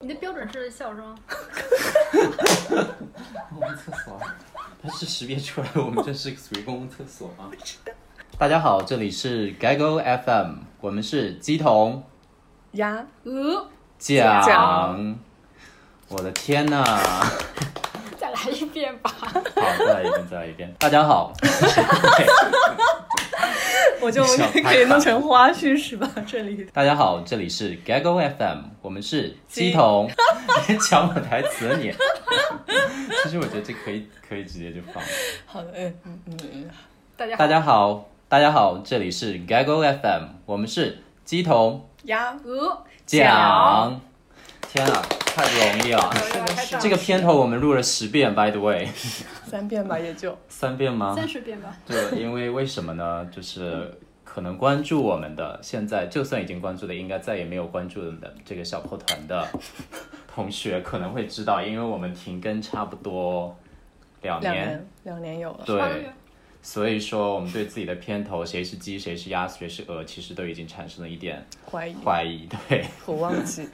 你的标准是笑声，公共厕所，啊它是识别出来我们这是属于公共厕所吗？大家好，这里是 Gaggle FM，我们是鸡同呀，呃，讲讲。我的天呐！好，再来一遍 吧。再来一遍，再来一遍。大家好，对 我就 小可以弄成花絮是吧？这里大家好，这里是 Gaggle FM，我们是鸡鸡同。你抢我台词了你。其实我觉得这可以，可以直接就放。好的，嗯嗯嗯嗯，大家好大家好，大家好，这里是 Gaggle FM，我们是鸡同。呀，呃，讲。天啊，太不容易了！要开始这个片头我们录了十遍，by the way，三遍吧也就三遍吗？三十遍吧。对，因为为什么呢？就是可能关注我们的，现在就算已经关注的，应该再也没有关注的这个小破团的同学可能会知道，因为我们停更差不多两两年，两年有了。八个月对，所以说我们对自己的片头谁是鸡，谁是鸭，谁是鹅，其实都已经产生了一点怀疑怀疑，对。我忘记，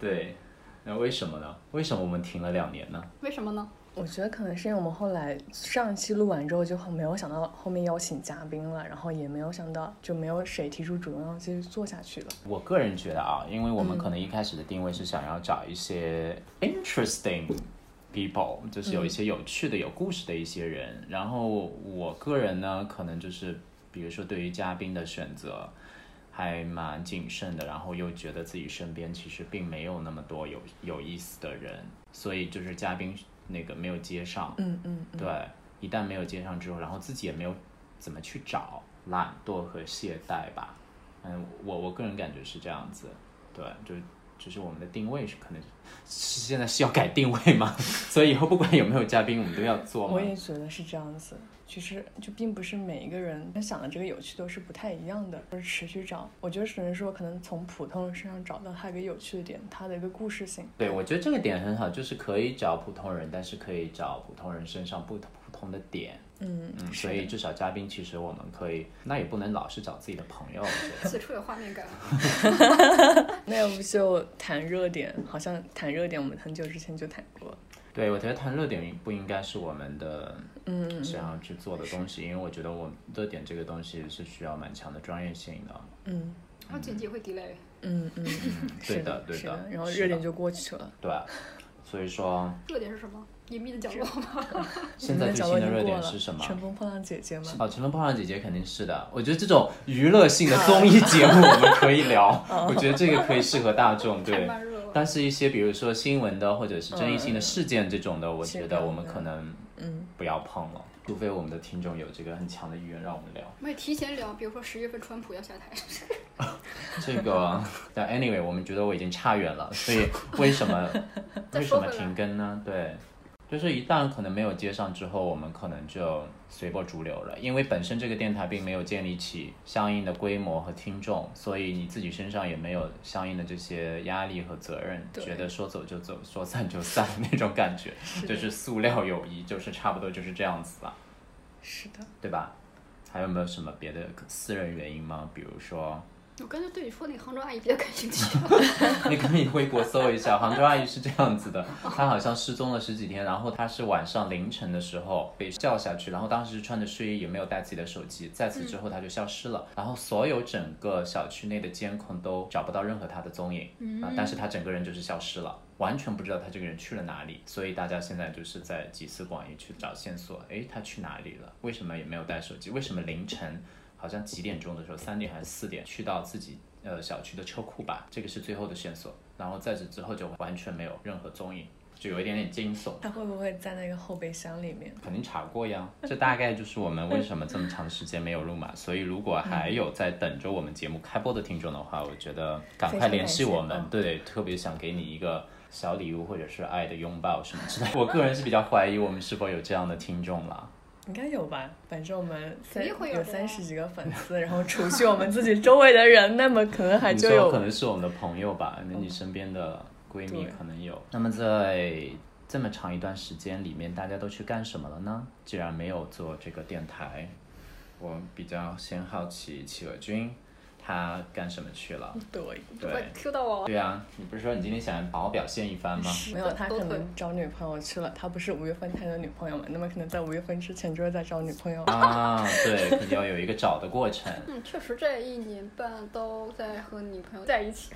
对，那为什么呢？为什么我们停了两年呢？为什么呢？我觉得可能是因为我们后来上一期录完之后，就很没有想到后面邀请嘉宾了，然后也没有想到就没有谁提出主动要继续做下去了。我个人觉得啊，因为我们可能一开始的定位是想要找一些 interesting people，就是有一些有趣的、有故事的一些人。然后我个人呢，可能就是比如说对于嘉宾的选择。还蛮谨慎的，然后又觉得自己身边其实并没有那么多有有意思的人，所以就是嘉宾那个没有接上，嗯嗯，对，一旦没有接上之后，然后自己也没有怎么去找，懒惰和懈怠吧。嗯，我我个人感觉是这样子，对，就就是我们的定位是可能是现在是要改定位嘛， 所以以后不管有没有嘉宾，我们都要做嘛我。也觉得是这样子。其实就并不是每一个人他想的这个有趣都是不太一样的，就是持续找。我觉得只能说，可能从普通人身上找到他一个有趣的点，他的一个故事性。对，我觉得这个点很好，就是可以找普通人，但是可以找普通人身上不同不同的点。嗯嗯，是所的以至少嘉宾其实我们可以，那也不能老是找自己的朋友，我觉得。此处有画面感。那要不就谈热点？好像谈热点，我们很久之前就谈过。对，我觉得谈热点不应该是我们的嗯想要去做的东西，因为我觉得我们热点这个东西是需要蛮强的专业性的。嗯然后剪辑会 delay。嗯嗯，对是对是的，然后是热点的就过去了。对，啊所以说热点是什么？隐秘的角落吗？现你在们最角新落已的经热过点了是什么？乘风破浪姐姐吗？哦，《乘风破浪姐姐》肯定是的。我觉得这种娱乐性啊的综艺节目我们可以聊，哦我觉得这个可以适合大 众。还对，蛮热了。但是一些比如说新闻的或者是争议性的事件这种的，我嗯是觉的得我们嗯可能嗯不要碰了，除非我们的听众有这个很强的意愿让我们聊。我们也提前聊，比如说十月份川普要下台， 这个，但 anyway，我们觉得我已经差远了，所以为什么再为什说么回来停更呢？对，就是一旦可能没有接上之后，我们可能就随波逐流了，因为本身这个电台并没有建立起相应的规模和听众，所以你自己身上也没有相应的这些压力和责任，对觉得说走就走，说散就散那种感觉，是就的是塑料友谊，就是差不多就是这样子吧，是的，对吧？还有没有什么别的私人原因吗？比如说。我刚才对你说那个杭州阿姨比较感兴趣。 你可以微博搜一下，杭州阿姨是这样子的，她好像失踪了十几天，然后她是晚上凌晨的时候被叫下去，然后当时穿着睡衣也没有带自己的手机，在此之后她就消失了，嗯然后所有整个小区内的监控都找不到任何她的踪影，啊，但是她整个人就是消失了。完全不知道她这个人去了哪里，所以大家现在就是在集思广益去找线索。诶，她去哪里了？为什么也没有带手机？为什么凌晨好像几点钟的时候，三点还是四点，去到自己呃小区的车库吧，这个是最后的线索。然后在此之后就完全没有任何踪影，就有一点点惊悚。他会不会在那个后备箱里面？肯定查过呀，这大概就是我们为什么这么长时间没有录嘛。所以如果还有在等着我们节目开播的听众的话，我觉得赶快联系我非们常感谢。对，特别想给你一个小礼物或者是爱的拥抱什么之类的。我个人是比较怀疑我们是否有这样的听众啦。应该有吧，反正我们三肯定会有的三十几个粉丝，然后除去我们自己周围的人，那么可能 还你就说有可能是我们的朋友吧，那你身边的闺蜜对可能有。那么在这么长一段时间里面，大家都去干什么了呢？既然没有做这个电台，我比较先好奇企鹅君，他干什么去了。对，对 Q 到我，对啊，你不是说你今天想好好表现一番吗？没有他都可退能找女朋友去了，他不是五月份谈的女朋友嘛，那么可能在五月份之前就是在找女朋友。啊，对，肯定要有一个找的过程。嗯，确实这一年半都在和女朋友在一起。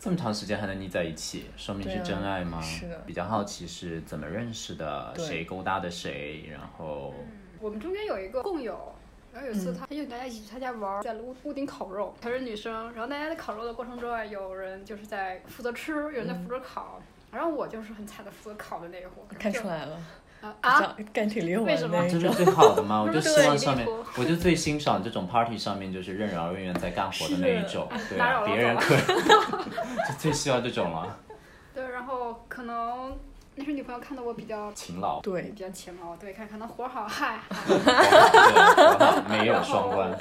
这么长时间还能腻在一起，说明是对啊真爱吗？是的比较好奇是怎么认识的，对谁勾搭的谁，然后我们中间有一个共友，然后有一嗯次他他就大家一起去他家玩儿，在屋屋顶烤肉，她是女生，然后大家在烤肉的过程中啊，有人就是在负责吃，有人嗯在负责烤，然后我就是很惨的负责烤的那一伙。看出就来了，啊啊！比较干体力活为什么那这一是种。最好的吗？我就哎嗯对希望上面一定，我就最欣赏这种 party 上面就是任劳任怨在干活的那一种，对打啊，扰别了人我可 就最需要这种了，对，然后可能那是女朋友看到我比较哎勤劳，对比，较勤劳，对，看看他活儿好， 嗨，对没有双关，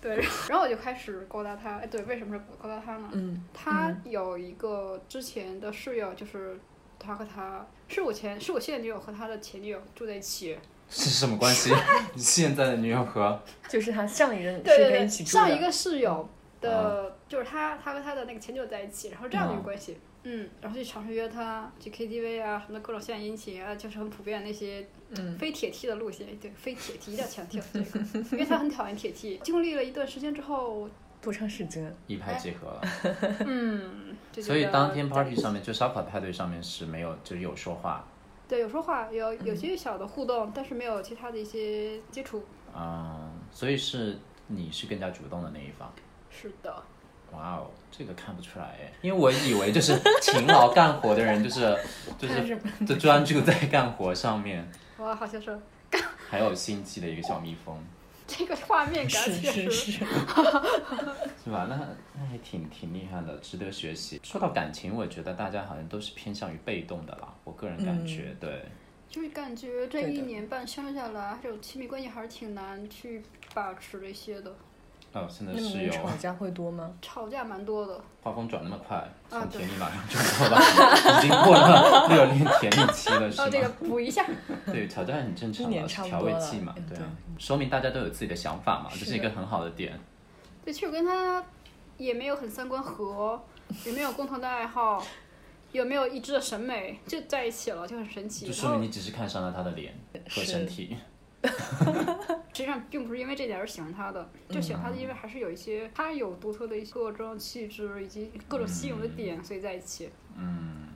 对，然后我就开始勾搭他，哎，对，为什么是勾搭他呢？嗯，他有一个之前的室友，就是他和他是我前是我现女友和他的前女友住在一起，是什么关 系？你现在的女友和就是他上一任是对对在对，一起住上一的，啊个室友的，就是他他和他的那个前女友在一起，然后这样的一个关系。嗯，然后就尝试约他去 KTV 啊，什么各种献殷勤啊，就是很普遍的那些嗯，非铁 T 的路线，对，非铁 T 一定 要强调这个，因为他很讨厌铁 T。经历了一段时间之后，多长时间？一拍即合了，哎嗯，就觉所以得当天 party 上面就烧烤派对上面是没有就是有说话对，有说话，有嗯有些小的互动，但是没有其他的一些接触。啊、所以是你是更加主动的那一方。是的，哇哦，这个看不出来哎，因为我以为就是勤劳干活的人，就是就是 就专注在干活上面，哇，好像是还有心机的一个小蜜蜂，这个画面感是确是实是，是吧？那那还挺挺厉害的，值得学习。说到感情，我觉得大家好像都是偏向于被动的啦，我个人感觉、对。就是感觉这对一的年半相处下来，这种亲密关系还是挺难去把持这些的，哦，现在 那你是们有吵架会多吗？吵架蛮多的。画风转那么快，啊从对甜蜜马上转到了，已经过了热恋甜蜜期了，是哦，这个吗？补一下，对，挑战很正常一嘛，年差不调多味了剂嘛嗯，对对啊，说明大家都有自己的想法嘛，这是是一个的很好的点。 对，其实我跟他也没有很三观合，也没有共同的爱好，也没有一致的审美，就在一起了，就很神奇。就然说明后你只是看上了他的脸和身体，实际上并不是因为这点而喜欢他的，就喜欢嗯他的，因为还是有一些他有独特的一些各种气质以及各种吸引我的点，所以在一起。嗯，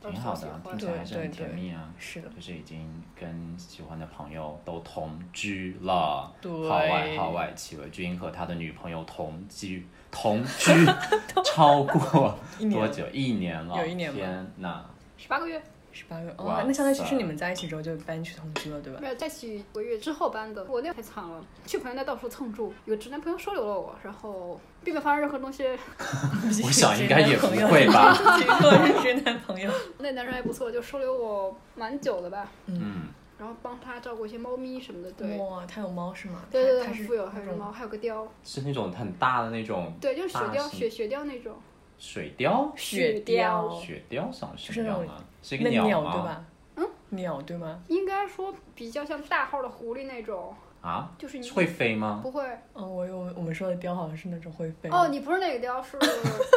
都挺是好喜的啊，听欢起对来还是对很甜对蜜啊。是的，就是已经跟喜欢的朋友都同居了，对号外号外，戚文君和他的女朋友同居同居 超过一年多久？一年了，有一年吗天 哪！十八个月，十八个哇哦，那相当于其塞实你们在一起之后就搬去同居了，对吧？没有在一起几个月之后搬的，我那太惨了，去朋友那到处蹭住，有直男朋友收留了我，然后并没有发生任何东西。 我想应该也不会吧结果是 直男朋友。那男生还不错，就收留我蛮久的吧，嗯，然后帮他照顾一些猫咪什么的。对，哇，他有猫是吗？对对对，他很是富有，还那有种猫，还有个貂，是那种很大的那种对，就是雪大貂，型雪雪貂那种。水貂，雪貂貂雪貂长就什么哦是那样种啊？是那一个鸟对吗？吧？嗯鸟对吗？应该说比较像大号的狐狸那种，啊，就是你会飞吗？不会。哦，我有我们说的貂好像是那种会飞哦，，你不是那个貂，是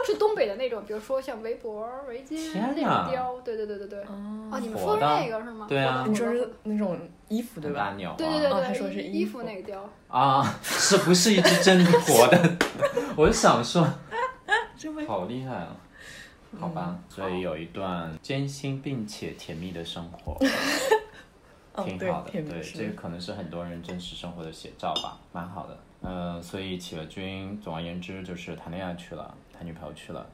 是东北的那种，比如说像围脖、围巾天那种哪貂，对对对对对。哦，哦，你们活说是的那个是吗？对啊活的你说活的是那种衣服对大吧？鸟啊，对对对哦对，他说是衣衣服服那个貂， 啊， 是不是一只真的活的？ 我就想说，这位好厉害啊！好吧，所以有一段艰辛并且甜蜜的生活，哦挺对好，的。甜对，品这个可能是很多人真实生活的写照吧，蛮好的。嗯、所以企鹅君，总而言之就是谈恋爱去了，谈女朋友去了。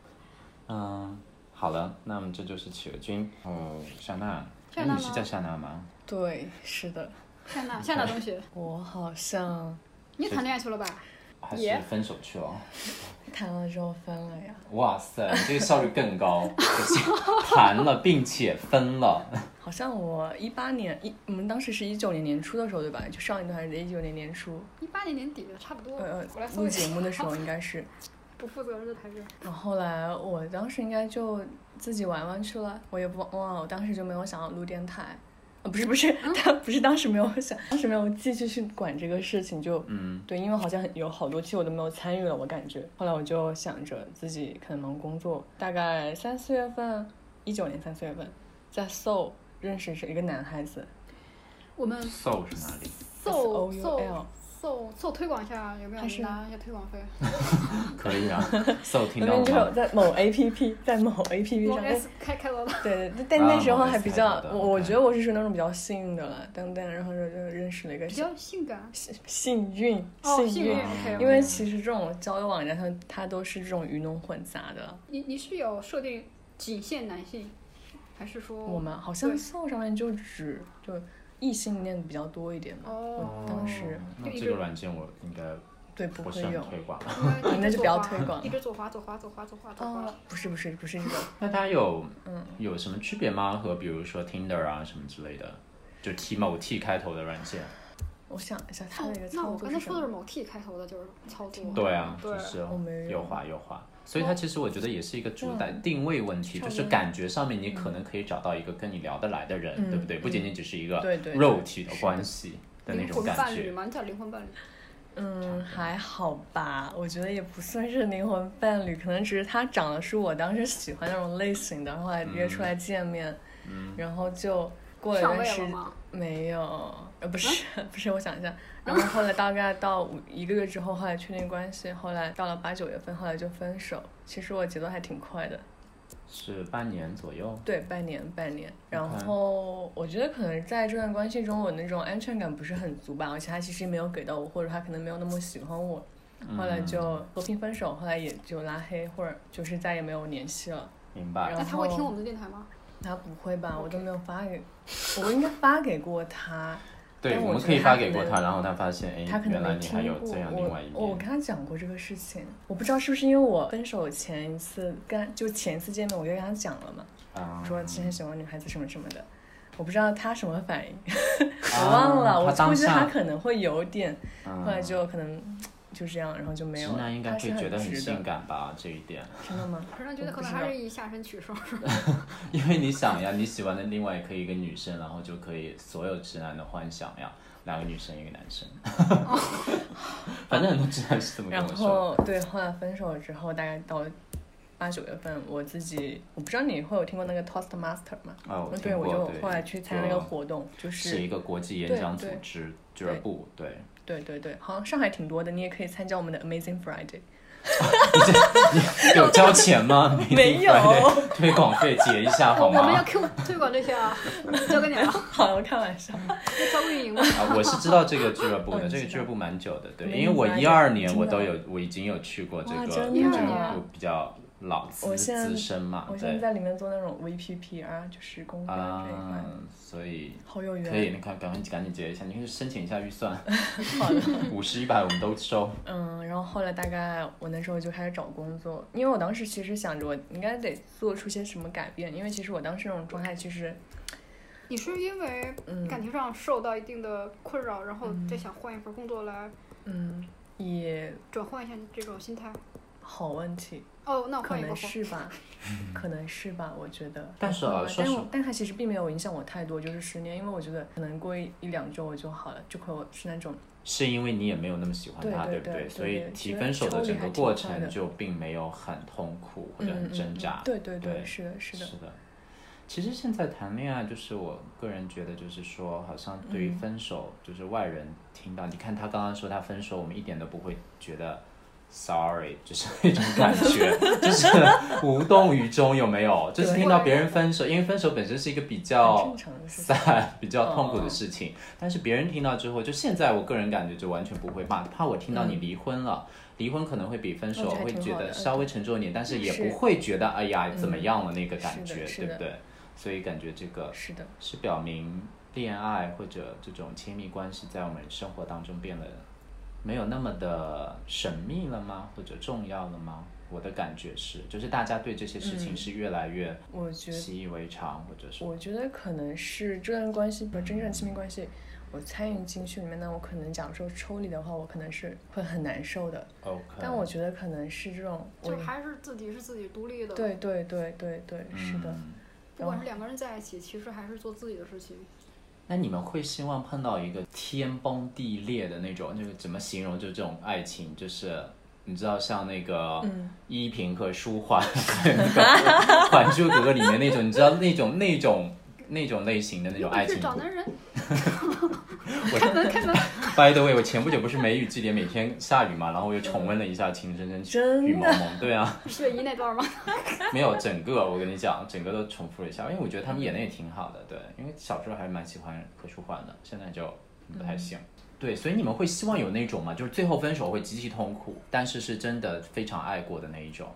嗯、好了，那么这就是企鹅君。哦，夏娜，夏哎，娜你是吗叫夏娜吗？对是的，夏娜夏娜同 学，我好像你也谈恋爱去了吧？还是也分手去了？谈了之后分了呀。哇塞，你这个效率更高，就是谈了并且分 了。好像我一八年一，我们当时是一九年年初的时候，对吧？就上一段还是一九年年初，一八年年底了，差不多。呃我来，搜录一节下目的时候应该是， 不负责任的谈恋爱。然后后来我当时应该就自己玩玩去了，我也不忘了，我当时就没有想要录电台，啊，不是不是， 他不是当时没有想，当时没有继续去管这个事情，就嗯，对，因为好像有好多期我都没有参与了，我感觉。后来我就想着自己可能忙工作，大概三四月份，一九年三四月份，在 Seoul 认识是一个男孩子我们瘦是哪里？搜 S O U 搜 L 搜搜推广一下，有没有还是拿一些推广费？可以啊，瘦听那到边就有吗？在某 APP，在某 APP 我上，但 S 开开 到了，对对，但啊那时候某还 S 比开较头，的我我 OK 觉得我是属于那种比较幸运的了，但但然后就就认识了一个比较性感。幸幸运哦，幸幸运运， ，OK。因为其实这种交友网站它它都是这种鱼龙混杂的。你你是有设定仅限男性，还是说我们好像对搜上面就只就异性恋比较多一点嘛，哦，我当时那这个软件我应该对不不会是很有。推 广。因为那就不要推广一直左滑，一直左滑，左滑，左滑，左滑，左哦 滑。，不是不是不是这种，那它有嗯有什么区别吗？和比如说 Tinder 啊什么之类的，就 T 某 T 开头的软件。我想一下它哦那个那操我作刚是才什说的么是？某 T 开头的，就是操作。对啊，对就是我没有右滑右滑。所以它其实我觉得也是一个主打嗯定位问题，差就不多是感觉上面你可能可以找到一个跟你聊得来的人，嗯对不对？嗯不仅仅只是一个对对对肉体的是的关系的那灵种魂感伴侣觉。嘛，你叫灵魂伴侣。嗯，还好吧，我觉得也不算是灵魂伴侣，可能只是他长得是我当时喜欢那种类型的，然后后来约出来见面，嗯然后就过了一上段位时了吗？没有，呃，不是， 不是，我想 一下，然后后来大概到五一个月之后，后来确定关系，后来到了八九月份，后来就分手。其实我节奏还挺快的，是半年左右。对，半年，半年。然 OK 后我觉得可能在这段关系中，我那种安全感不是很足吧，而且他其实没有给到我，或者他可能没有那么喜欢我，嗯后来就和平分手，后来也就拉黑，或者就是再也没有联系了。明白然那后他会听我们的电台吗？他不会吧？我都没有发给，我应该发给过他。对，但我我们觉可以得发他给可过能他，然后他发现，哎他，可能原没来你听还有过这样另外一面。我。我跟他讲过这个事情，我不知道是不是因为我分手前一次跟他就前一次见面，我就跟他讲了嘛，啊我说之前喜欢女孩子什么什么的，我不知道他什么 反应，啊我忘了，我他估当计他下，嗯可能会有点，后后来就可能就这样，然后就没直有了。男应该他会是觉得很直性的，感吧，这一点。真的吗？可是觉得可我不能知还道是以下身取胜。因为你想呀，你喜欢的另外一个一个女生，然后就可以所有直男的幻想呀，两个女生一个男生， 反正很多直男是这么跟哦然我说。后对，后来分手之后，大概到八九月份，我自己我不知道你会有听过那个 Toastmaster 吗？啊，我对，听我过，就对，后来去参加那个就活动，就是一个国际演对讲组对织俱乐对部，对， 对对对，好像上海挺多的，你也可以参加我们的 Amazing Friday。有交钱吗？ 没有推广费结一下 我好我们吗要？Q 推广这些啊，交给你 了，好，我开玩笑。交运 营吧。啊，我是知道这个俱乐部的，哦你这个知俱乐道部蛮久的，对，没因为我一明白二年真我的都有，我已经有去过这哇个真的这个俱乐呀部比较老资我现在资深嘛我，现在对，在里面做那种 VPP 啊，就是公关啊这一块，，所以好有可以，缘。你看，赶快赶紧结一下，你可以申请一下预算， 好的。五十一百我们都收。嗯，然后后来大概我那时候就开始找工作，因为我当时其实想着我应该得做出些什么改变，因为其实我当时那种状态其实，你是因为嗯感情上受到一定的困扰，然后再想换一份工作来嗯，也转换一下你这种心态？好问题，哦，那我可换一个能吧。是吧，可能是吧，我觉得。嗯但是啊嗯说但实我但它其实并没有影响我太多，就是十年，因为我觉得可能过一一两周我就好了，就可我是那种是因为你也没有那么喜欢他，对对不对？对所对以对提其实分手的抽离整还个挺过快程的就并没有很痛苦或者嗯很挣扎嗯嗯。。对对对是的，是的。是的。其实现在谈恋爱，就是我个人觉得，就是说，好像对于嗯分手，就是外人听到，你看他刚刚说他分手，我们一点都不会觉得 sorry，就是那种感 觉，就是无动于衷，有没有？就是对听到别人分手，因为分手本身是一个比较很正常的事情。散比较痛苦嗯的事情，但是别人听到之后，就现在我个人感觉就完全不会骂，怕我听到嗯你离婚了，离婚可能会比分手我觉得会哦挺觉好得的嗯稍微沉重一点，但是也是不会觉得哎呀嗯怎么样了那个感是觉的，是对的不对？所以感觉这个是的，是表明恋爱或者这种亲密关系在我们生活当中变得没有那么的神秘了吗？或者重要了吗？我的感觉是，就是大家对这些事情嗯是越来越我觉得，习以为常，或者说我觉得可能是这段关系，比如真正亲密关系，我参与进去里面呢，我可能假如说抽离的话，我可能是会很难受的。 OK。但我觉得可能是这种，我就还是自己是自己独立的，对对对对对，是的，嗯不管然是后两个人在一起，其实还是做自己的事情。那你们会希望碰到一个天崩地裂的那种，就是怎么形容？就这种爱情，就是你知道，像那个依萍和舒缓， 那个《还珠格格》里面那种，你知道那种那种那种类型的那种爱是情找故 男人，我开门开门， By the way，我前不久不是梅雨季节每天下雨嘛，然后我又重温了一下《情深深真的雨蒙蒙》。对啊，雪姨那段吗？没有整个，我跟你讲，整个都重复了一下，因为我觉得他们演的也挺好的。对，因为小时候还蛮喜欢柯书桓的，现在就不嗯太行。对，所以你们会希望有那种嘛，就是最后分手会极其痛苦，但是是真的非常爱过的那一种。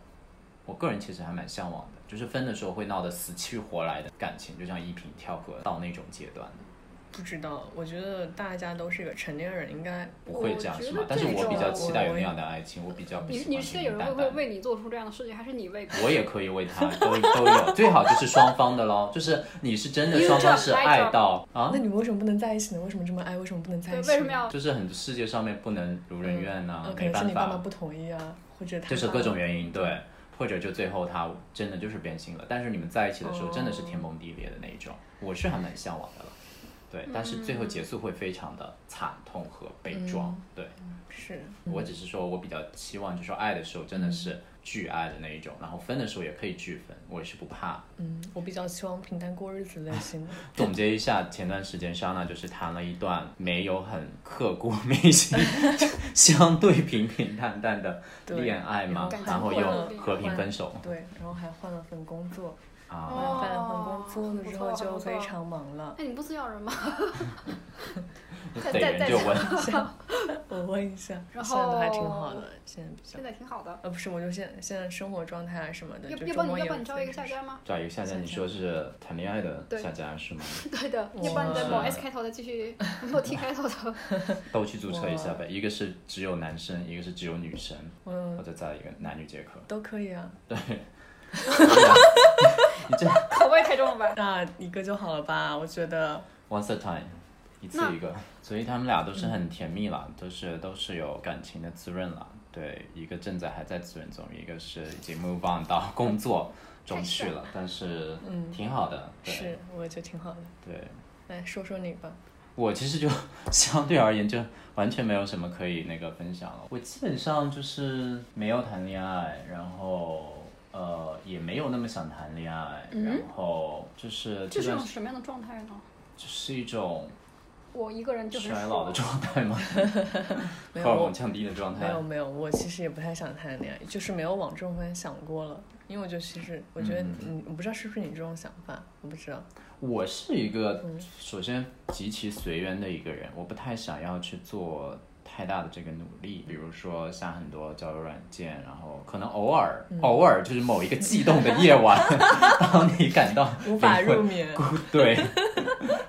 我个人其实还蛮向往的，就是分的时候会闹得死去活来的感情，就像依萍跳河到那种阶段的，不知道，我觉得大家都是一个成年人，应该不会这样是我觉吗得？但是我比较这种期待有我那样的爱情，我比较不你喜欢你是平有平人会淡会淡。为你做出这样的事情，还是你为？我也可以为他都都有，最好就是双方的咯，就是你是真的 You 双方 drop 是 my 爱 drop 到啊那，你们为什么不能在一起呢？为什么这么爱？为什么不能在对，一起？为什么？要？就是很世界上面不能如人愿呐、呃可没能是办你爸法妈，不同意啊，或者他就是爸各种原因对，或者就最后他真的就是变心了，但是你们在一起的时候真的是天崩地裂的那一种，我是还蛮向往的了，对，但是最后结束会非常的惨痛和悲嗯壮，对。是我只是说，我比较期望，就是说爱的时候真嗯的是巨爱的那一种，然后分的时候也可以巨分，我是不怕嗯，我比较希望平淡过日子类 型的。总结一下，前段时间莎娜就是谈了一段没有很刻骨铭心、相对平平淡淡的恋爱嘛对，然后感情又观和平分手对，然后还换了份工作，啊。哦换了份工作了之后不错就不错非常忙了。那哎你不是要人吗？再逮人就问，我问一下，然现在都还挺后好的，现在比较现在挺好的。呃不是，我就现现在生活状态啊什么的，要就要周帮末你，也要帮你会招一个下分手家吗？找一个下家，你说是谈恋爱的对下家是吗？对的，我要不然你再某是 S 开头的继续，某 T 开头的。都去注册一下呗。一个是只有男生，一个是只有女生，嗯，或者再一个男女结合。都可以啊，你这口味太重了吧？那一个就好了吧？我觉得 once a time，一次一个，所以他们俩都是很甜蜜啦，都是都是有感情的滋润啦。对，一个正在还在滋润中，一个是已经 move on 到工作中去了，但是挺好的。对是，我觉得挺好的。对，来说说你吧，我其实就 相对而言就完全没有什么可以那个分享了。我基本上就是没有谈恋爱，然后。呃，也没有那么想谈恋爱，然后就是这这是段种什么样的状态呢？就是一种我一个人就是衰老的状态吗？ 没荷尔有蒙我降低的状态没。有没有，我其实也不太想谈恋爱，就是没有往这方面想过了。因为我觉得其实，我觉得嗯你，我不知道是不是你这种想法，我不知道。我是一个嗯首先极其随缘的一个人，我不太想要去做太大的这个努力，比如说像很多交友软件，然后可能偶尔、嗯偶尔就是某一个悸动的夜晚， 当你感到无法灵魂入眠。孤 对，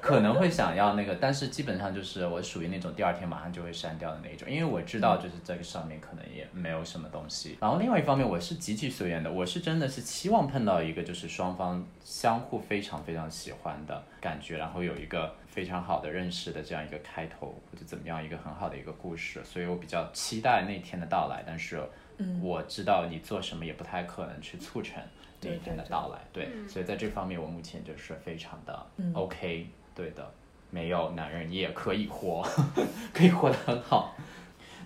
可能会想要那个，但是基本上就是我属于那种第二天马上就会删掉的那一种，因为我知道就是这个上面可能也没有什么东西。然后另外一方面，我是极其随缘的，我是真的是期望碰到一个就是双方相互非常非常喜欢的感觉，然后有一个非常好的认识的这样一个开头，或者怎么样一个很好的一个故事，所以我比较期待那天的到来，但是。嗯我知道你做什么也不太可能去促成那一对天的对对到来，对，所以在这方面我目前就是非常的 OK，、对的，没有男人你也可以活， 可以活得很好。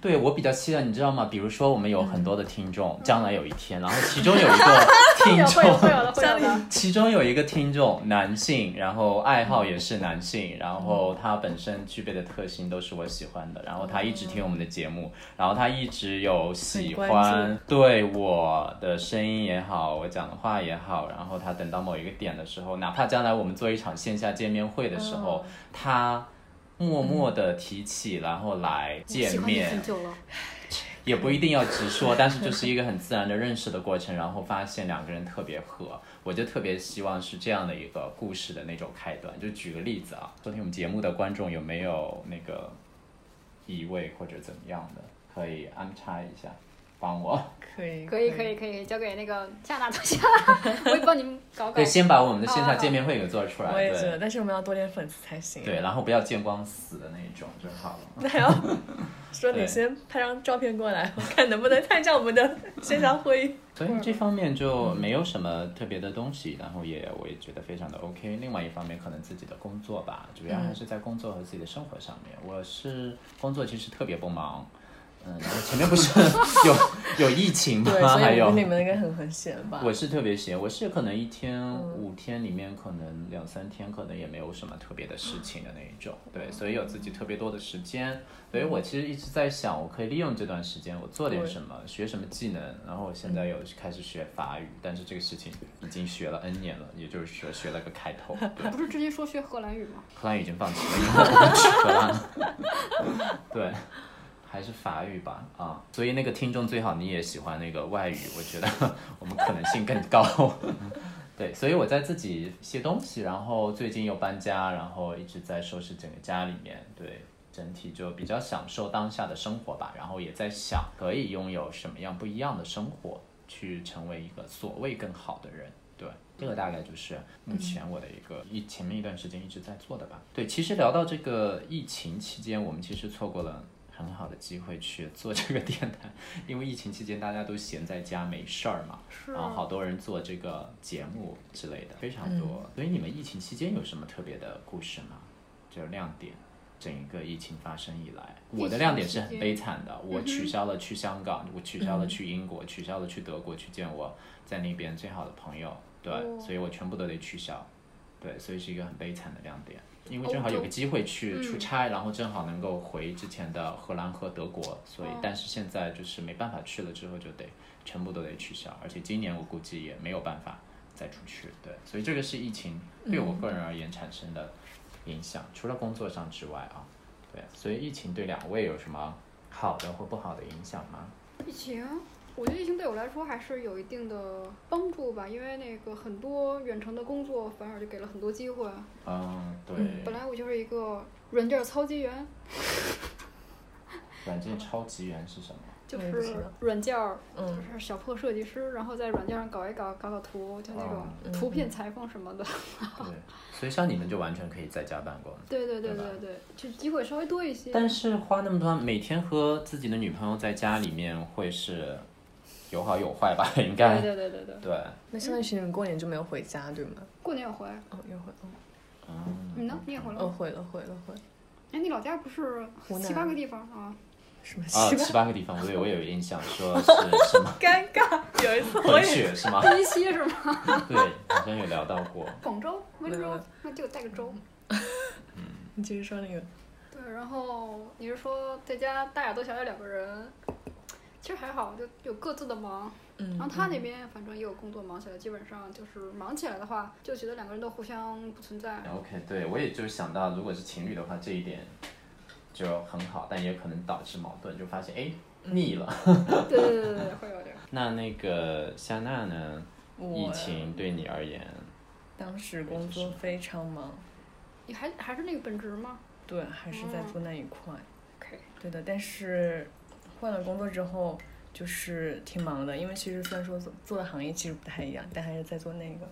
对我比较期待，你知道吗？比如说我们有很多的听众，嗯将来有一天，然后其中有一个 听有哎会有会众，有的会有的。其中有一个听众男性，然后爱好也是男性，然后他本身具备的特性都是我喜欢的，然后他一直听我们的节目，然后他一直有喜很关欢对我的声音也好，我讲的话也好，然后他等到某一个点的时候，哪怕将来我们做一场线下见面会的时候，嗯他。默默的提起，然后来见喜欢你面，很久了，也不一定要直说，但是就是一个很自然的认识的过程，然后发现两个人特别合，我就特别希望是这样的一个故事的那种开端。就举个例子啊，收听我们节目的观众有没有那个异味或者怎么样的，可以安插一下。帮我。 可以，可以可以可以，交给那个夏娜同学，我也帮你们搞搞对，。先把我们的线下见面会给做出来。哦我也觉对得，但是我们要多点粉丝才行。啊对，，然后不要见光死的那一种就好了。那还要说对你先拍张照片过来，我看能不能参加我们的线上会议。所以这方面就没有什么特别的东西，然后也我也觉得非常的 OK。另外一方面，可能自己的工作吧，主要还是在工作和自己的生活上面。我是工作其实特别不忙，嗯，然后前面不是 有有疫情吗 对，？所还以我有跟你们应该很很闲吧？嗯我是特别闲，我是可能一天、五天里面，可能两三天，可能也没有什么特别的事情的那一种。对，所以有自己特别多的时间，所以我其实一直在想，我可以利用这段时间，我做点对嗯什么，学什么技能。然后我现在有开始学法语，但是这个事情已经学了 N 年了，也就是说学了个开头。对，不是之前说学荷兰语吗？荷兰语已经放弃了，因为我不去荷兰了。 对。还是法语吧，啊，所以那个听众最好你也喜欢那个外语，我觉得我们可能性更高。 对，所以我在自己写东西，然后最近又搬家，然后一直在收拾整个家里面，对，整体就比较享受当下的生活吧，然后也在想可以拥有什么样不一样的生活，去成为一个所谓更好的人。对，这个大概就是目前我的一个一前面一段时间一直在做的吧。对，其实聊到这个疫情期间，我们其实错过了。很好的机会去做这个电台，因为疫情期间大家都闲在家没事儿嘛，是然后好多人做这个节目之类的，非常多。所以你们疫情期间有什么特别的故事吗？就是亮点，整一个疫情发生以来，我的亮点是很悲惨的，我取消了去香港，我取消了去英国，取消了去德国去见我在那边最好的朋友，对，哦所以我全部都得取消，对，所以是一个很悲惨的亮点。因为正好有个机会去嗯出差，然后正好能够回之前的荷兰和德国，所以但是现在就是没办法去了，之后就得全部都得取消，而且今年我估计也没有办法再出去，对，所以这个是疫情对我个人而言产生的影响，除了工作上之外啊，对，所以疫情对两位有什么好的或不好的影响吗？疫情，我觉得疫情对我来说还是有一定的帮助吧，因为那个很多远程的工作反而就给了很多机会。嗯，对，本来我就是一个软件操级员，软件超级员是什么？就我也不知是道软件儿，就嗯是小破设计师，然后在软件上搞一搞，搞搞图，就那种嗯图片裁缝什么的。 对，所以像你们就完全可以在家办公。对对对对吧对对，就机会稍微多一些。但是花那么多，每天和自己的女朋友在家里面会是有好有坏吧？对应该对对对对，对，那相当于是你们过年就没有回家，对吗？过年也回来，哦，又回，哦嗯，你呢？你也回来哦，吗？回了，回了，回了，哎，你老家不是湖南七八个地方啊？什么啊，西吧？七八个地方，我有我有印象，说是什 么尴尬，有一次我混也 血是吗？第一期是吗？对，好像有聊到过。广 州、温没有没州有，那就带个州。你继续说那个，对，然后你是说在家大眼瞪小眼两个人，其实还好，就有各自的忙。嗯，然后他那边反正也有工作忙起来，基本上就是忙起来的话，就觉得两个人都互相不存啊在。 OK，对我也就想到，如果是情侣的话，这一点就很好，但也可能导致矛盾，就发现哎腻了。对对对对 对，会有这个。那那个夏娜呢？疫我情对你而言，当时工作非常忙，你还还是那个本职吗对，还是在嗯住那一块， ？OK，对的。但是换了工作之后，就是挺忙的，因为其实虽然说做做的行业其实不太一样，但还是在做那个，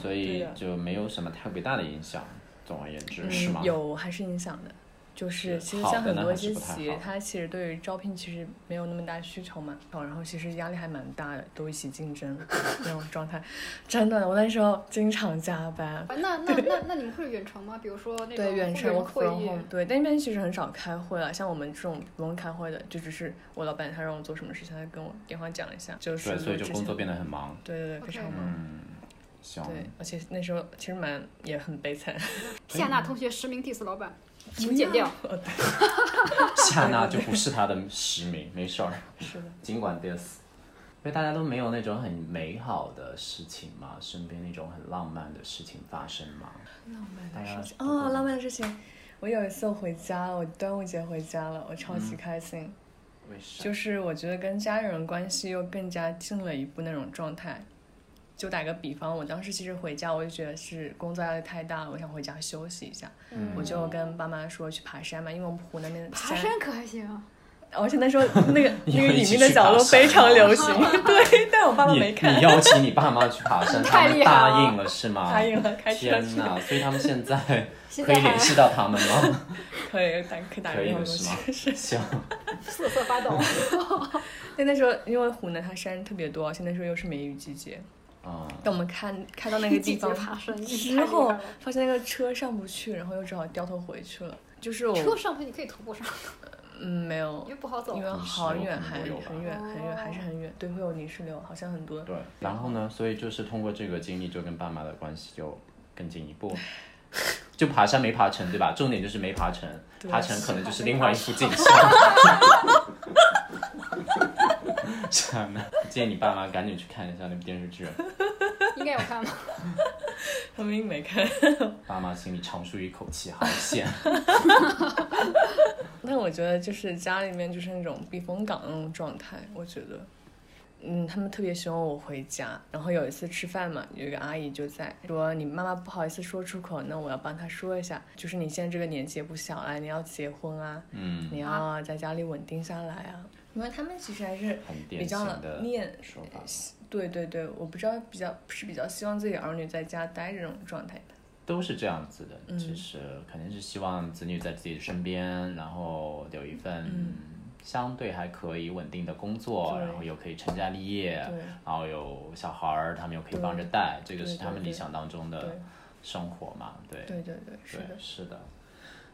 所对以的就没有什么太伟大的影响。总而言之，是吗嗯，？有还是影响的。就是是其实好像的很呢多还是一些不太企业好，它其实对于招聘其实没有那么大需求嘛，然后其实压力还蛮大的，都一起竞争 那种状态，真的，我那时候经常加班，啊，那那那那你们会远程吗？比如说那种对，远程 work 会 from 议 home，对，但那边其实很少开会了。像我们这种不用开会的，就只是我老板他让我做什么事情，他跟我电话讲一下，就是对，所以就之工前作变得很忙。对对对，非 OK 常忙。嗯，行。对，而且那时候其实蛮也很悲惨，夏娜同学实名 diss 老板，请剪掉。 夏娜就不是他的实名，没事儿，是的，尽管 this。因为大家都没有那种很美好的事情嘛，身边那种很浪漫的事情发生嘛。浪漫大家的事情都过哦，得浪漫的事情。我有一次回家，我端午节回家了，我超嗯级开心，为啥？就是我觉得跟家人关系又更加近了一步那种状态。就打个比方，我当时其实回家，我就觉得是工作压力太大了，我想回家休息一下。嗯我就跟爸妈说去爬山嘛，因为我们湖南那边哦爬山山可还行啊？而且那时候 那个你那会个一隐起秘的去角爬落山非常吗流 行，对，但我爸爸你没看你，邀请你爸妈去爬 山，他太厉们害答了应了是吗？答应了开车天去， 哪！所以他们现在现可在以还联系到他们吗？ 可以打可以打可个以电话的过是吗去。？ 行，瑟瑟 发抖。但那时候因为湖南它山特别多，而且那时候又是梅雨季节，嗯，但我们看开到那个地季节方爬山之后，发现那个车上不去，然后又只好掉头回去了。就是哦车我上去你可以徒步上，嗯没有因，为不好走因。为好远，还很多有吧很远很远，还是哦很远。对，会有泥石流，好像很多。对。然后呢？所以就是通过这个经历，就跟爸妈的关系就更进一步。 就爬山没爬成，对吧？重点就是没爬成，对爬成可能就是没另爬外一幅景象。 是啊，那建议你爸妈赶紧去看一下那部电视剧，应该有看吧？他们并没看，爸妈心里长舒一口气，好险。但我觉得就是家里面就是那种避风港那种状态，我觉得。嗯，他们特别希望我回家。然后有一次吃饭嘛，有一个阿姨就在说：“你妈妈不好意思说出口，那我要帮她说一下，就是你现在这个年纪也不小了，你要结婚啊，嗯，你要在家里稳定下来啊。”因为他们其实还是很典型比较的念说法。对对对，我不知道比较是比较希望自己儿女在家待着这种状态的。都是这样子的，嗯其实肯定是希望子女在自己身边，然后有一份嗯相对还可以稳定的工作，对然后又可以成家立业，对然后有小孩儿，他们又可以对帮着带，这对个是他们对理想当中对的生活嘛，对，对对对，是对的。是的。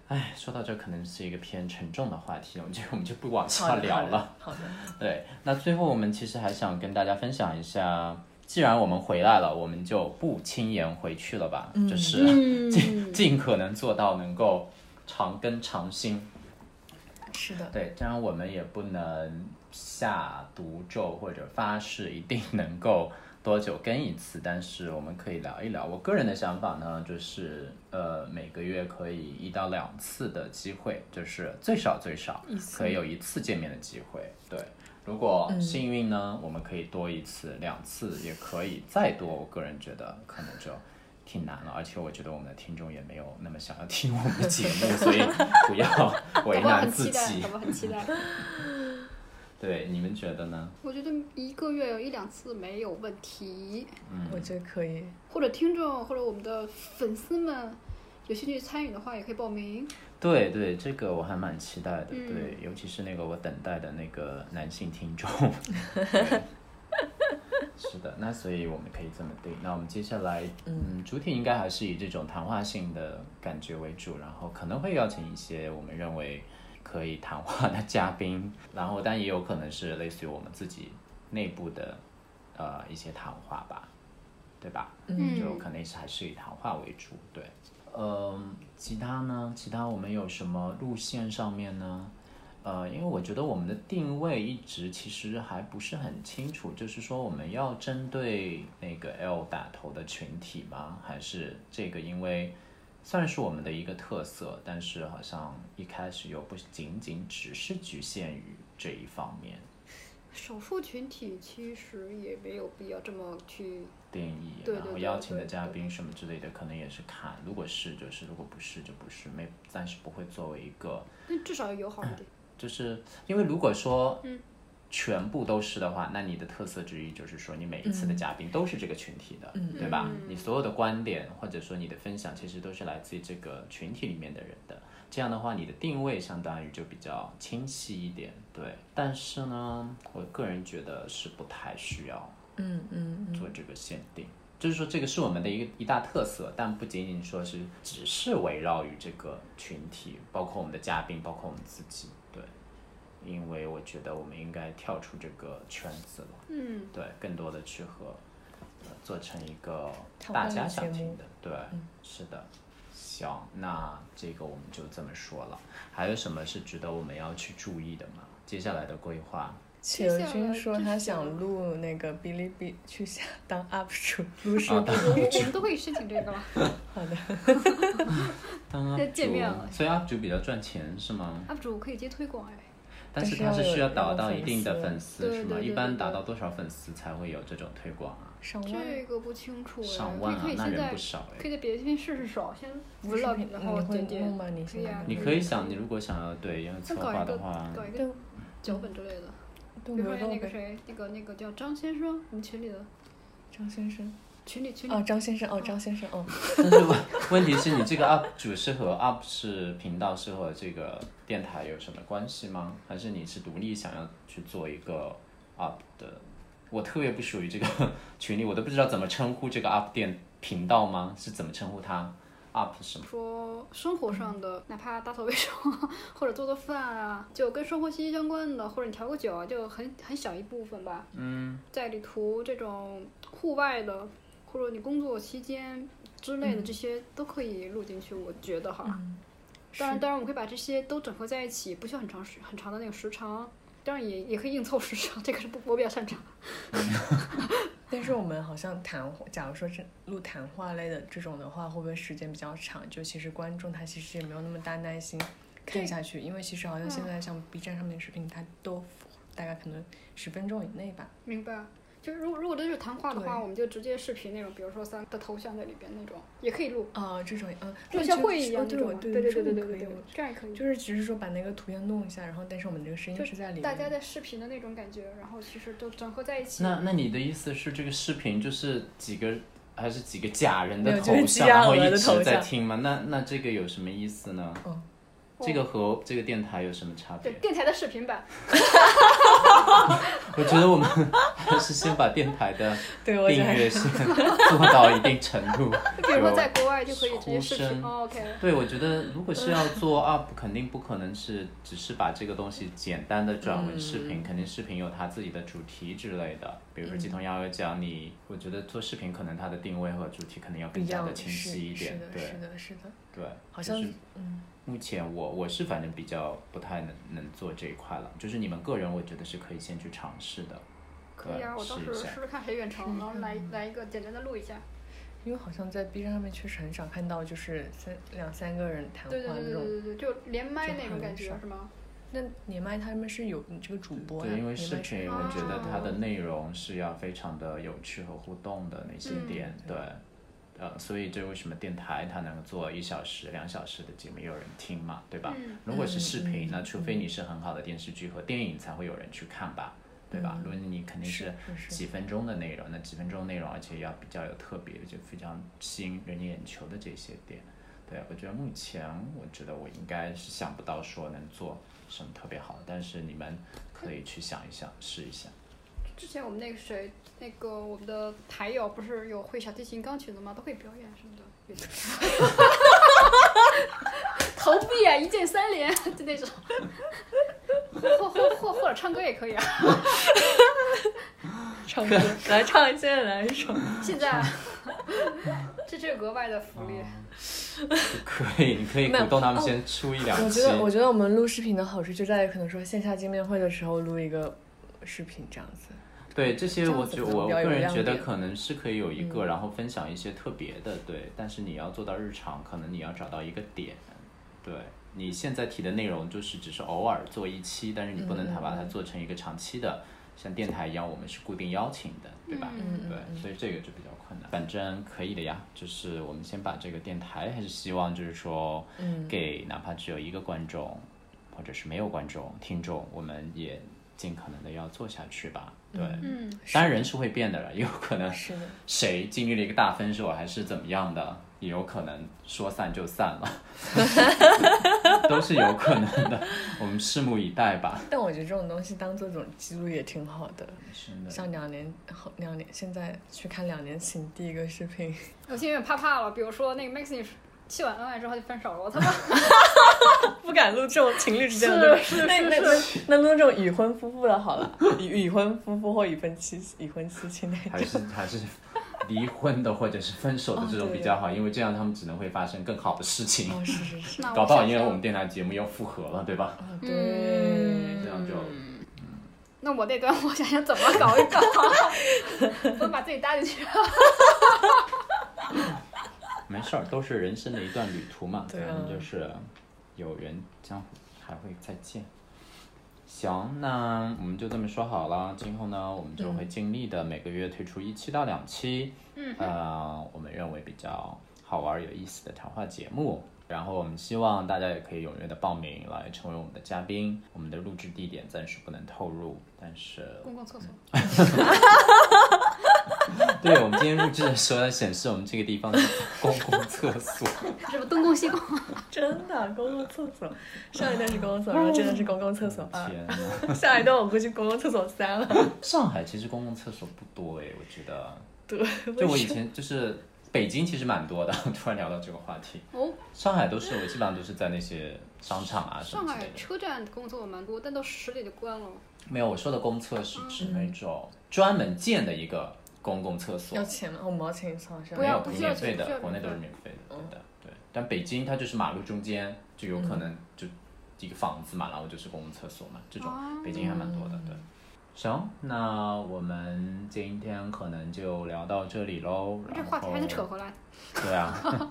哎，说到这可能是一个偏沉重的话题，我们就我们就不往好下的聊好了的。好的，对，那最后我们其实还想跟大家分享一下，既然我们回来了，我们就不轻言回去了吧，就是尽尽可能做到能够长根长新。是的，对，当然我们也不能下毒咒或者发誓一定能够多久更一次，但是我们可以聊一聊。我个人的想法呢，就是呃每个月可以一到两次的机会，就是最少最少一次可以有一次见面的机会。对，如果幸运呢，我们可以多一次、两次也可以，再多我个人觉得可能就。挺难了，而且我觉得我们的听众也没有那么想要听我们的节目，所以不要 为宝宝难很自期待，己宝。宝很期待。对，你们觉得呢？我觉得一个月有一两次没有问题，嗯我觉得可以。或者听众或者我们的粉丝们有兴趣参与的话，也可以报名。对对，这个我还蛮期待的。嗯对，尤其是那个我等待的那个男性听众。对是的，那所以我们可以这么定。那我们接下来，嗯，主体应该还是以这种谈话性的感觉为主，然后可能会邀请一些我们认为可以谈话的嘉宾，然后但也有可能是类似于我们自己内部的呃一些谈话吧，对吧？嗯就可能是还是以谈话为主，对。嗯，其他呢？其他我们有什么路线上面呢？呃，因为我觉得我们的定位一直其实还不是很清楚，就是说我们要针对那个 L 打头的群体吗？还是这个因为算是我们的一个特色，但是好像一开始又不仅仅只是局限于这一方面少数群体其实也没有必要这么去，定义，对对然后对邀请的嘉对宾什么之类的，可能也是看，如果是就是，如果不是就不是，没暂时不会作为一个。但至少要友好一点。就是因为如果说嗯全部都是的话，那你的特色之一就是说你每一次嗯的嘉宾都是这个群体的，嗯对吧？你所有的观点或者说你的分享，其实都是来自于这个群体里面的人的。这样的话，你的定位相当于就比较清晰一点，对。但是呢，我个人觉得是不太需要嗯嗯做这个限定。就是说，这个是我们的一个一大特色，但不仅仅说是只是围绕于这个群体，包括我们的嘉宾，包括我们自己，对，因为我觉得我们应该跳出这个圈子了，嗯，对，更多的去和、呃、做成一个讨大论家的想节听目嗯的，对，是的。行，那这个我们就这么说了。还有什么是值得我们要去注意的吗？接下来的规划，企鹅君说他啊想录那个哔哩哔去下当 UP 主，录视频。 我我们都可以申请这个了。好的，当要 UP 见面了主，所以 UP 主比较赚钱是吗？ UP 主可以接推广哎，但但是是它要是有需要达有到粉一定的丝粉丝对是对吗？对一对般对达到多少粉丝才会有这种推广啊？上万。这个不清楚哎，上万你啊可，以那现人在不少可哎。以在别的地方试试手，先不是 vlog 然后你会剪辑弄吗？你可以啊你可可以以可想，以你如果想要对要策再搞划一的个话， 搞一个对，脚本之类的。比动如不说动那个呗。谁，那个那个叫张先生，我们群里的张先生，群里群里哦，张先生，嗯哦，张先生，哦，但是问问题是你这个 UP 主是和 UP 是频道是和这个电台有什么关系吗？还是你是独立想要去做一个 UP 的？我特别不属于这个群里，我都不知道怎么称呼这个 UP 电频道吗？是怎么称呼它？UP 什么？说生活上的，哪怕打扫卫生啊， 或者做做饭啊，就跟生活息息相关的，或者你调个酒啊，就很很小一部分吧。嗯，在旅途这种户外的，或者你工作期间之类的这些都可以录进去，我觉得哈。当然，是当然我会把这些都整合在一起，不需要很长时很长的那个时长。当然也也可以硬凑时长， 这个是不我比较擅长。但是我们好像谈话，假如说是录谈话类的这种的话，会不会时间比较长？就其实观众他其实也没有那么大耐心看下去，因为其实好像现嗯在像 B 站上面的视频，它都大概可能十分钟以内吧。明白。就是如果如果真是谈话的话，对我们就直接视频那种，比如说三的头像在里边那种，也可以录。呃，这种呃，哦就我像觉得会一哦样那对我种，对对对这对对种对可以对我，这样也可以。就是只是说把那个图样弄一下，然后但是我们这个声嗯就音是在里面的。大家在视频的那种感觉，然后其实都整合在一起。那那你的意思是这个视频就是几个还是几个假人的没有头就是像，鸡鸭然后鹅一的直头在像听吗？那那这个有什么意思呢？哦这个和这个电台有什么差别对？电台的视频版，我觉得我们 还是先把电台的对，我觉订得还阅是先做到一定程 度。就比如说在国外就可以直接呼视频。声哦，OK，对，我觉得如果是要 做 UP，肯定不可能是只是把这个东西简单的转为视嗯频，肯定视频有它自己的主题之类的。比如说鸡同幺幺讲你，我觉得做视频可能它的定位和主题肯定要不更一加样的的，清晰一点是。的，对是的，是的，对，好像就是嗯，目前我我是反正比较不太能能做这一块了，就是你们个人我觉得是可以先去尝试的。可以啊，我对到试时一下试试看谁远 程，然后来来一个简单的录一下。因为好像在 B 站上面确实很少看到，就是三两三个人谈话对对对那对种。对对对，就连麦就那种很感觉少是吗？那连麦他们是有你这个主播呀，对，因为连视麦频，是我觉得它的哦内容是要非常的有趣和互动的那些嗯点，对，呃，所以这为什么电台它能做一小时、两小时的节目有人听嘛，对吧？嗯如果是视频，嗯那除非你是很好的电视剧和电影才会有人去看吧，对吧？如果你肯定是是是几分钟的内容，那几分钟内容，而且要比较有特别，就非常吸引人眼球的这些点。对，我觉得目前我觉得我应该是想不到说能做什么特别好的，但是你们可以去想一想，试一下。之前我们那个谁，那个我们的台友不是有会小提琴、钢琴的吗？都可以表演什么的。有 点投币啊，一键三连，就那种，或或或或者唱歌也可以啊。唱歌，来唱，现在来一首。现 在，这是额外的福利。嗯可以，你可以没有鼓动他们哦先出一两我期觉。得，我觉得我们录视频的好处就在于，可能说线下见面会的时候录一个视频这样子。对这些，这样我子觉可能我比较有个人亮觉得点嗯可能是可以有一个，然后分享一些特别的，对。但是你要做到日常，可能你要找到一个点，对。你现在提的内容就是只是偶尔做一期，但是你不嗯能它把它做成一个长期的，像电台一样，我们是固定邀请的，对吧？嗯嗯对，所以这个就比较困难。反正可以的呀，就是我们先把这个电台，还是希望就是说，嗯给哪怕只有一个观众，或者是没有观众、听众，我们也尽可能的要做下去吧。对，嗯，当然人是会变的了，也有可能是的，谁经历了一个大分手还是怎么样的，也有可能说散就散 了，都是有可能的，我们拭目以待吧。但我觉得这种东西当做一种记录也挺好的。真的，像两年后，两年现在去看两年前第一个视频，我现在有点怕怕了。比如说那个 Maxine 秀完恩爱之后就分手了， 我他妈 不敢录这种情侣之间的是那那那那录这种已婚夫妇的好了， 已已婚夫妇或已婚妻已婚妻亲 那还是还是离婚的或者是分手的这种比较好，因为这样他们只能会发生更好的事情。哦，是 是是，那搞不好因为想我们电台节目要复合了，对吧？哦嗯对这，样就那我那段我想想怎么搞一 搞，怎么把自己搭进去？没事儿，都是人生的一段旅途嘛，对啊反正就是有缘江湖还会再见。行，那我们就这么说好了。今后呢，我们嗯就会尽力的每个月推出一期到两期，嗯，呃，我们认为比较好玩儿有意思的谈话节目。然后我们希望大家也可以踊跃的报名来成为我们的嘉宾。我们的录制地点暂时不能透露，但是公共厕所，对我们今天录制的时候显示我们这个地方是公共厕 所。是不东宫西宫？真的公共厕所，上一段是公共厕所，然后真的是公共厕所二，天呐， 下一段我估计公共厕所三 了。上海其实公共厕所不多哎，我觉得。对，就我以前就是北京其实蛮多的， 突然聊到这个话题。哦，上海都是我基本上都是在那些商场啊什上么之类海的。车站公厕所蛮多，但到十点就关了。没有，我说的公厕是指嗯那种专门建的一个公共厕所要，钱吗？我毛钱一次是不吧没要有不需要免钱费不需的，要国内都是免费的，对的，对。但北京它就是马路中间就有嗯可能就一个房子嘛，然后就是公共厕所嘛，这种哦北京还蛮多的，对。行，那我们今天可能就聊到这里喽。这然话题还能扯后回来？对啊，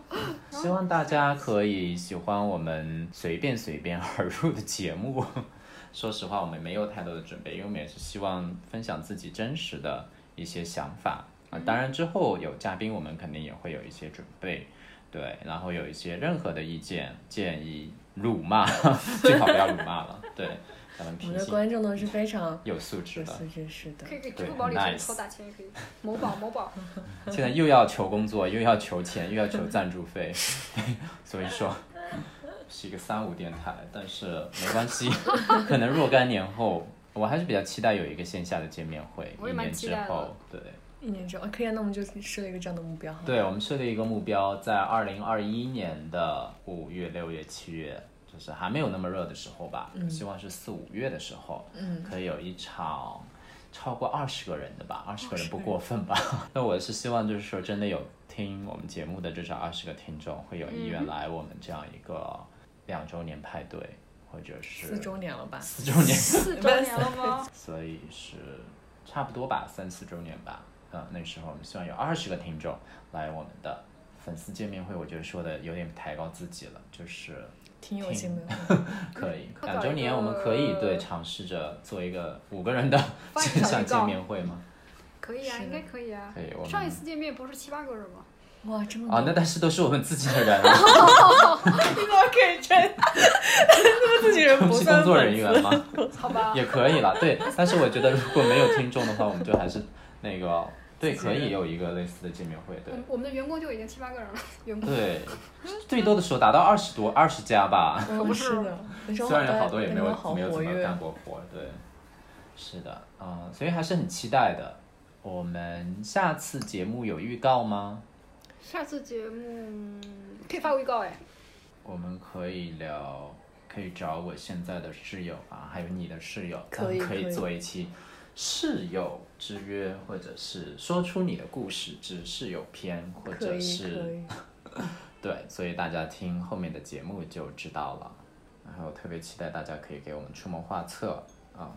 希望大家可以喜欢我们随便随便而入的节目。 说实话，我们没有太多的准备，因为我们也是希望分享自己真实的一些想法啊。当然之后有嘉宾，我们肯定也会有一些准备，对，然后有一些任何的意见、建议、辱骂， 最好不要辱骂了，对，咱们我平们的心，观众都是非常有素质有的。素质，是的可。以给支对付宝里很头哦 nice 投打钱也可以，某宝某 宝。现在又要求工作，又要求钱，又要求赞助费， 所以说是一个三无电台，但是没关系， 可能若干年后，我还是比较期待有一个线下的见面会，我一也蛮年期之待的后，对一年之后，可以啊，那我们就设一个这样的目标哈。对，我们设立一个目标，在二零二一年的五月、六月、七月。就是还没有那么热的时候吧，希望是四五月的时候，嗯，可以有一场超过二十个人的吧，二十个人不过分吧？ 那我是希望就是说，真的有听我们节目的至少二十个听众会有意愿来我们这样一个两周年派对，或者是四周年了吧？四周年，四周年了 吗？所以是差不多吧，三四周年吧。嗯，那时候我们希望有二十个听众来我们的粉丝见面会，我觉得说的有点抬高自己了，就是挺有钱的，可以，快两搞周一年我们个可以对尝试着做一个五个人的发一线个小上预见告面会吗？可以啊，是应该可以啊可以我。们上一次见面不是七八个人吗？哇，这么啊，那但是都是我们自己的人啊，你怎么可以 这样？那么自己人我不们是算工作粉人丝员吗？好吧， 也可以啦，对。但是我觉得如果没有听众的话，我们就还是那个，对，可以有一个类似的见面会，我对们我们的员工就已经七八个人了，员工。对，最多的时候达到二十多二十家吧。嗯可不是是的，但是我虽然有感好觉多也感没有觉好没有活怎么跃干，过活，对，是的，嗯，所以还是很期待的。我们下次节目有预告吗？下次节目嗯可以发个预告哎，我们可以聊，可以找我现在的室友啊，还有你的室友，可咱们以可可以做一期室友之约，或者是说出你的故事之室友篇，或可者以可是以，对，所以大家听后面的节目就知道了。然后特别期待大家可以给我们出谋划策啊、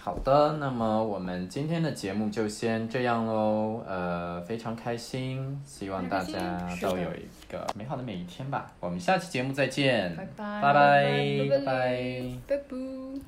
好的，那么我们今天的节目就先这样喽。呃，非常开心，希望大非常家心是的都有一个美好的每一天吧。我们下期节目再见，拜拜拜拜拜拜拜拜拜拜。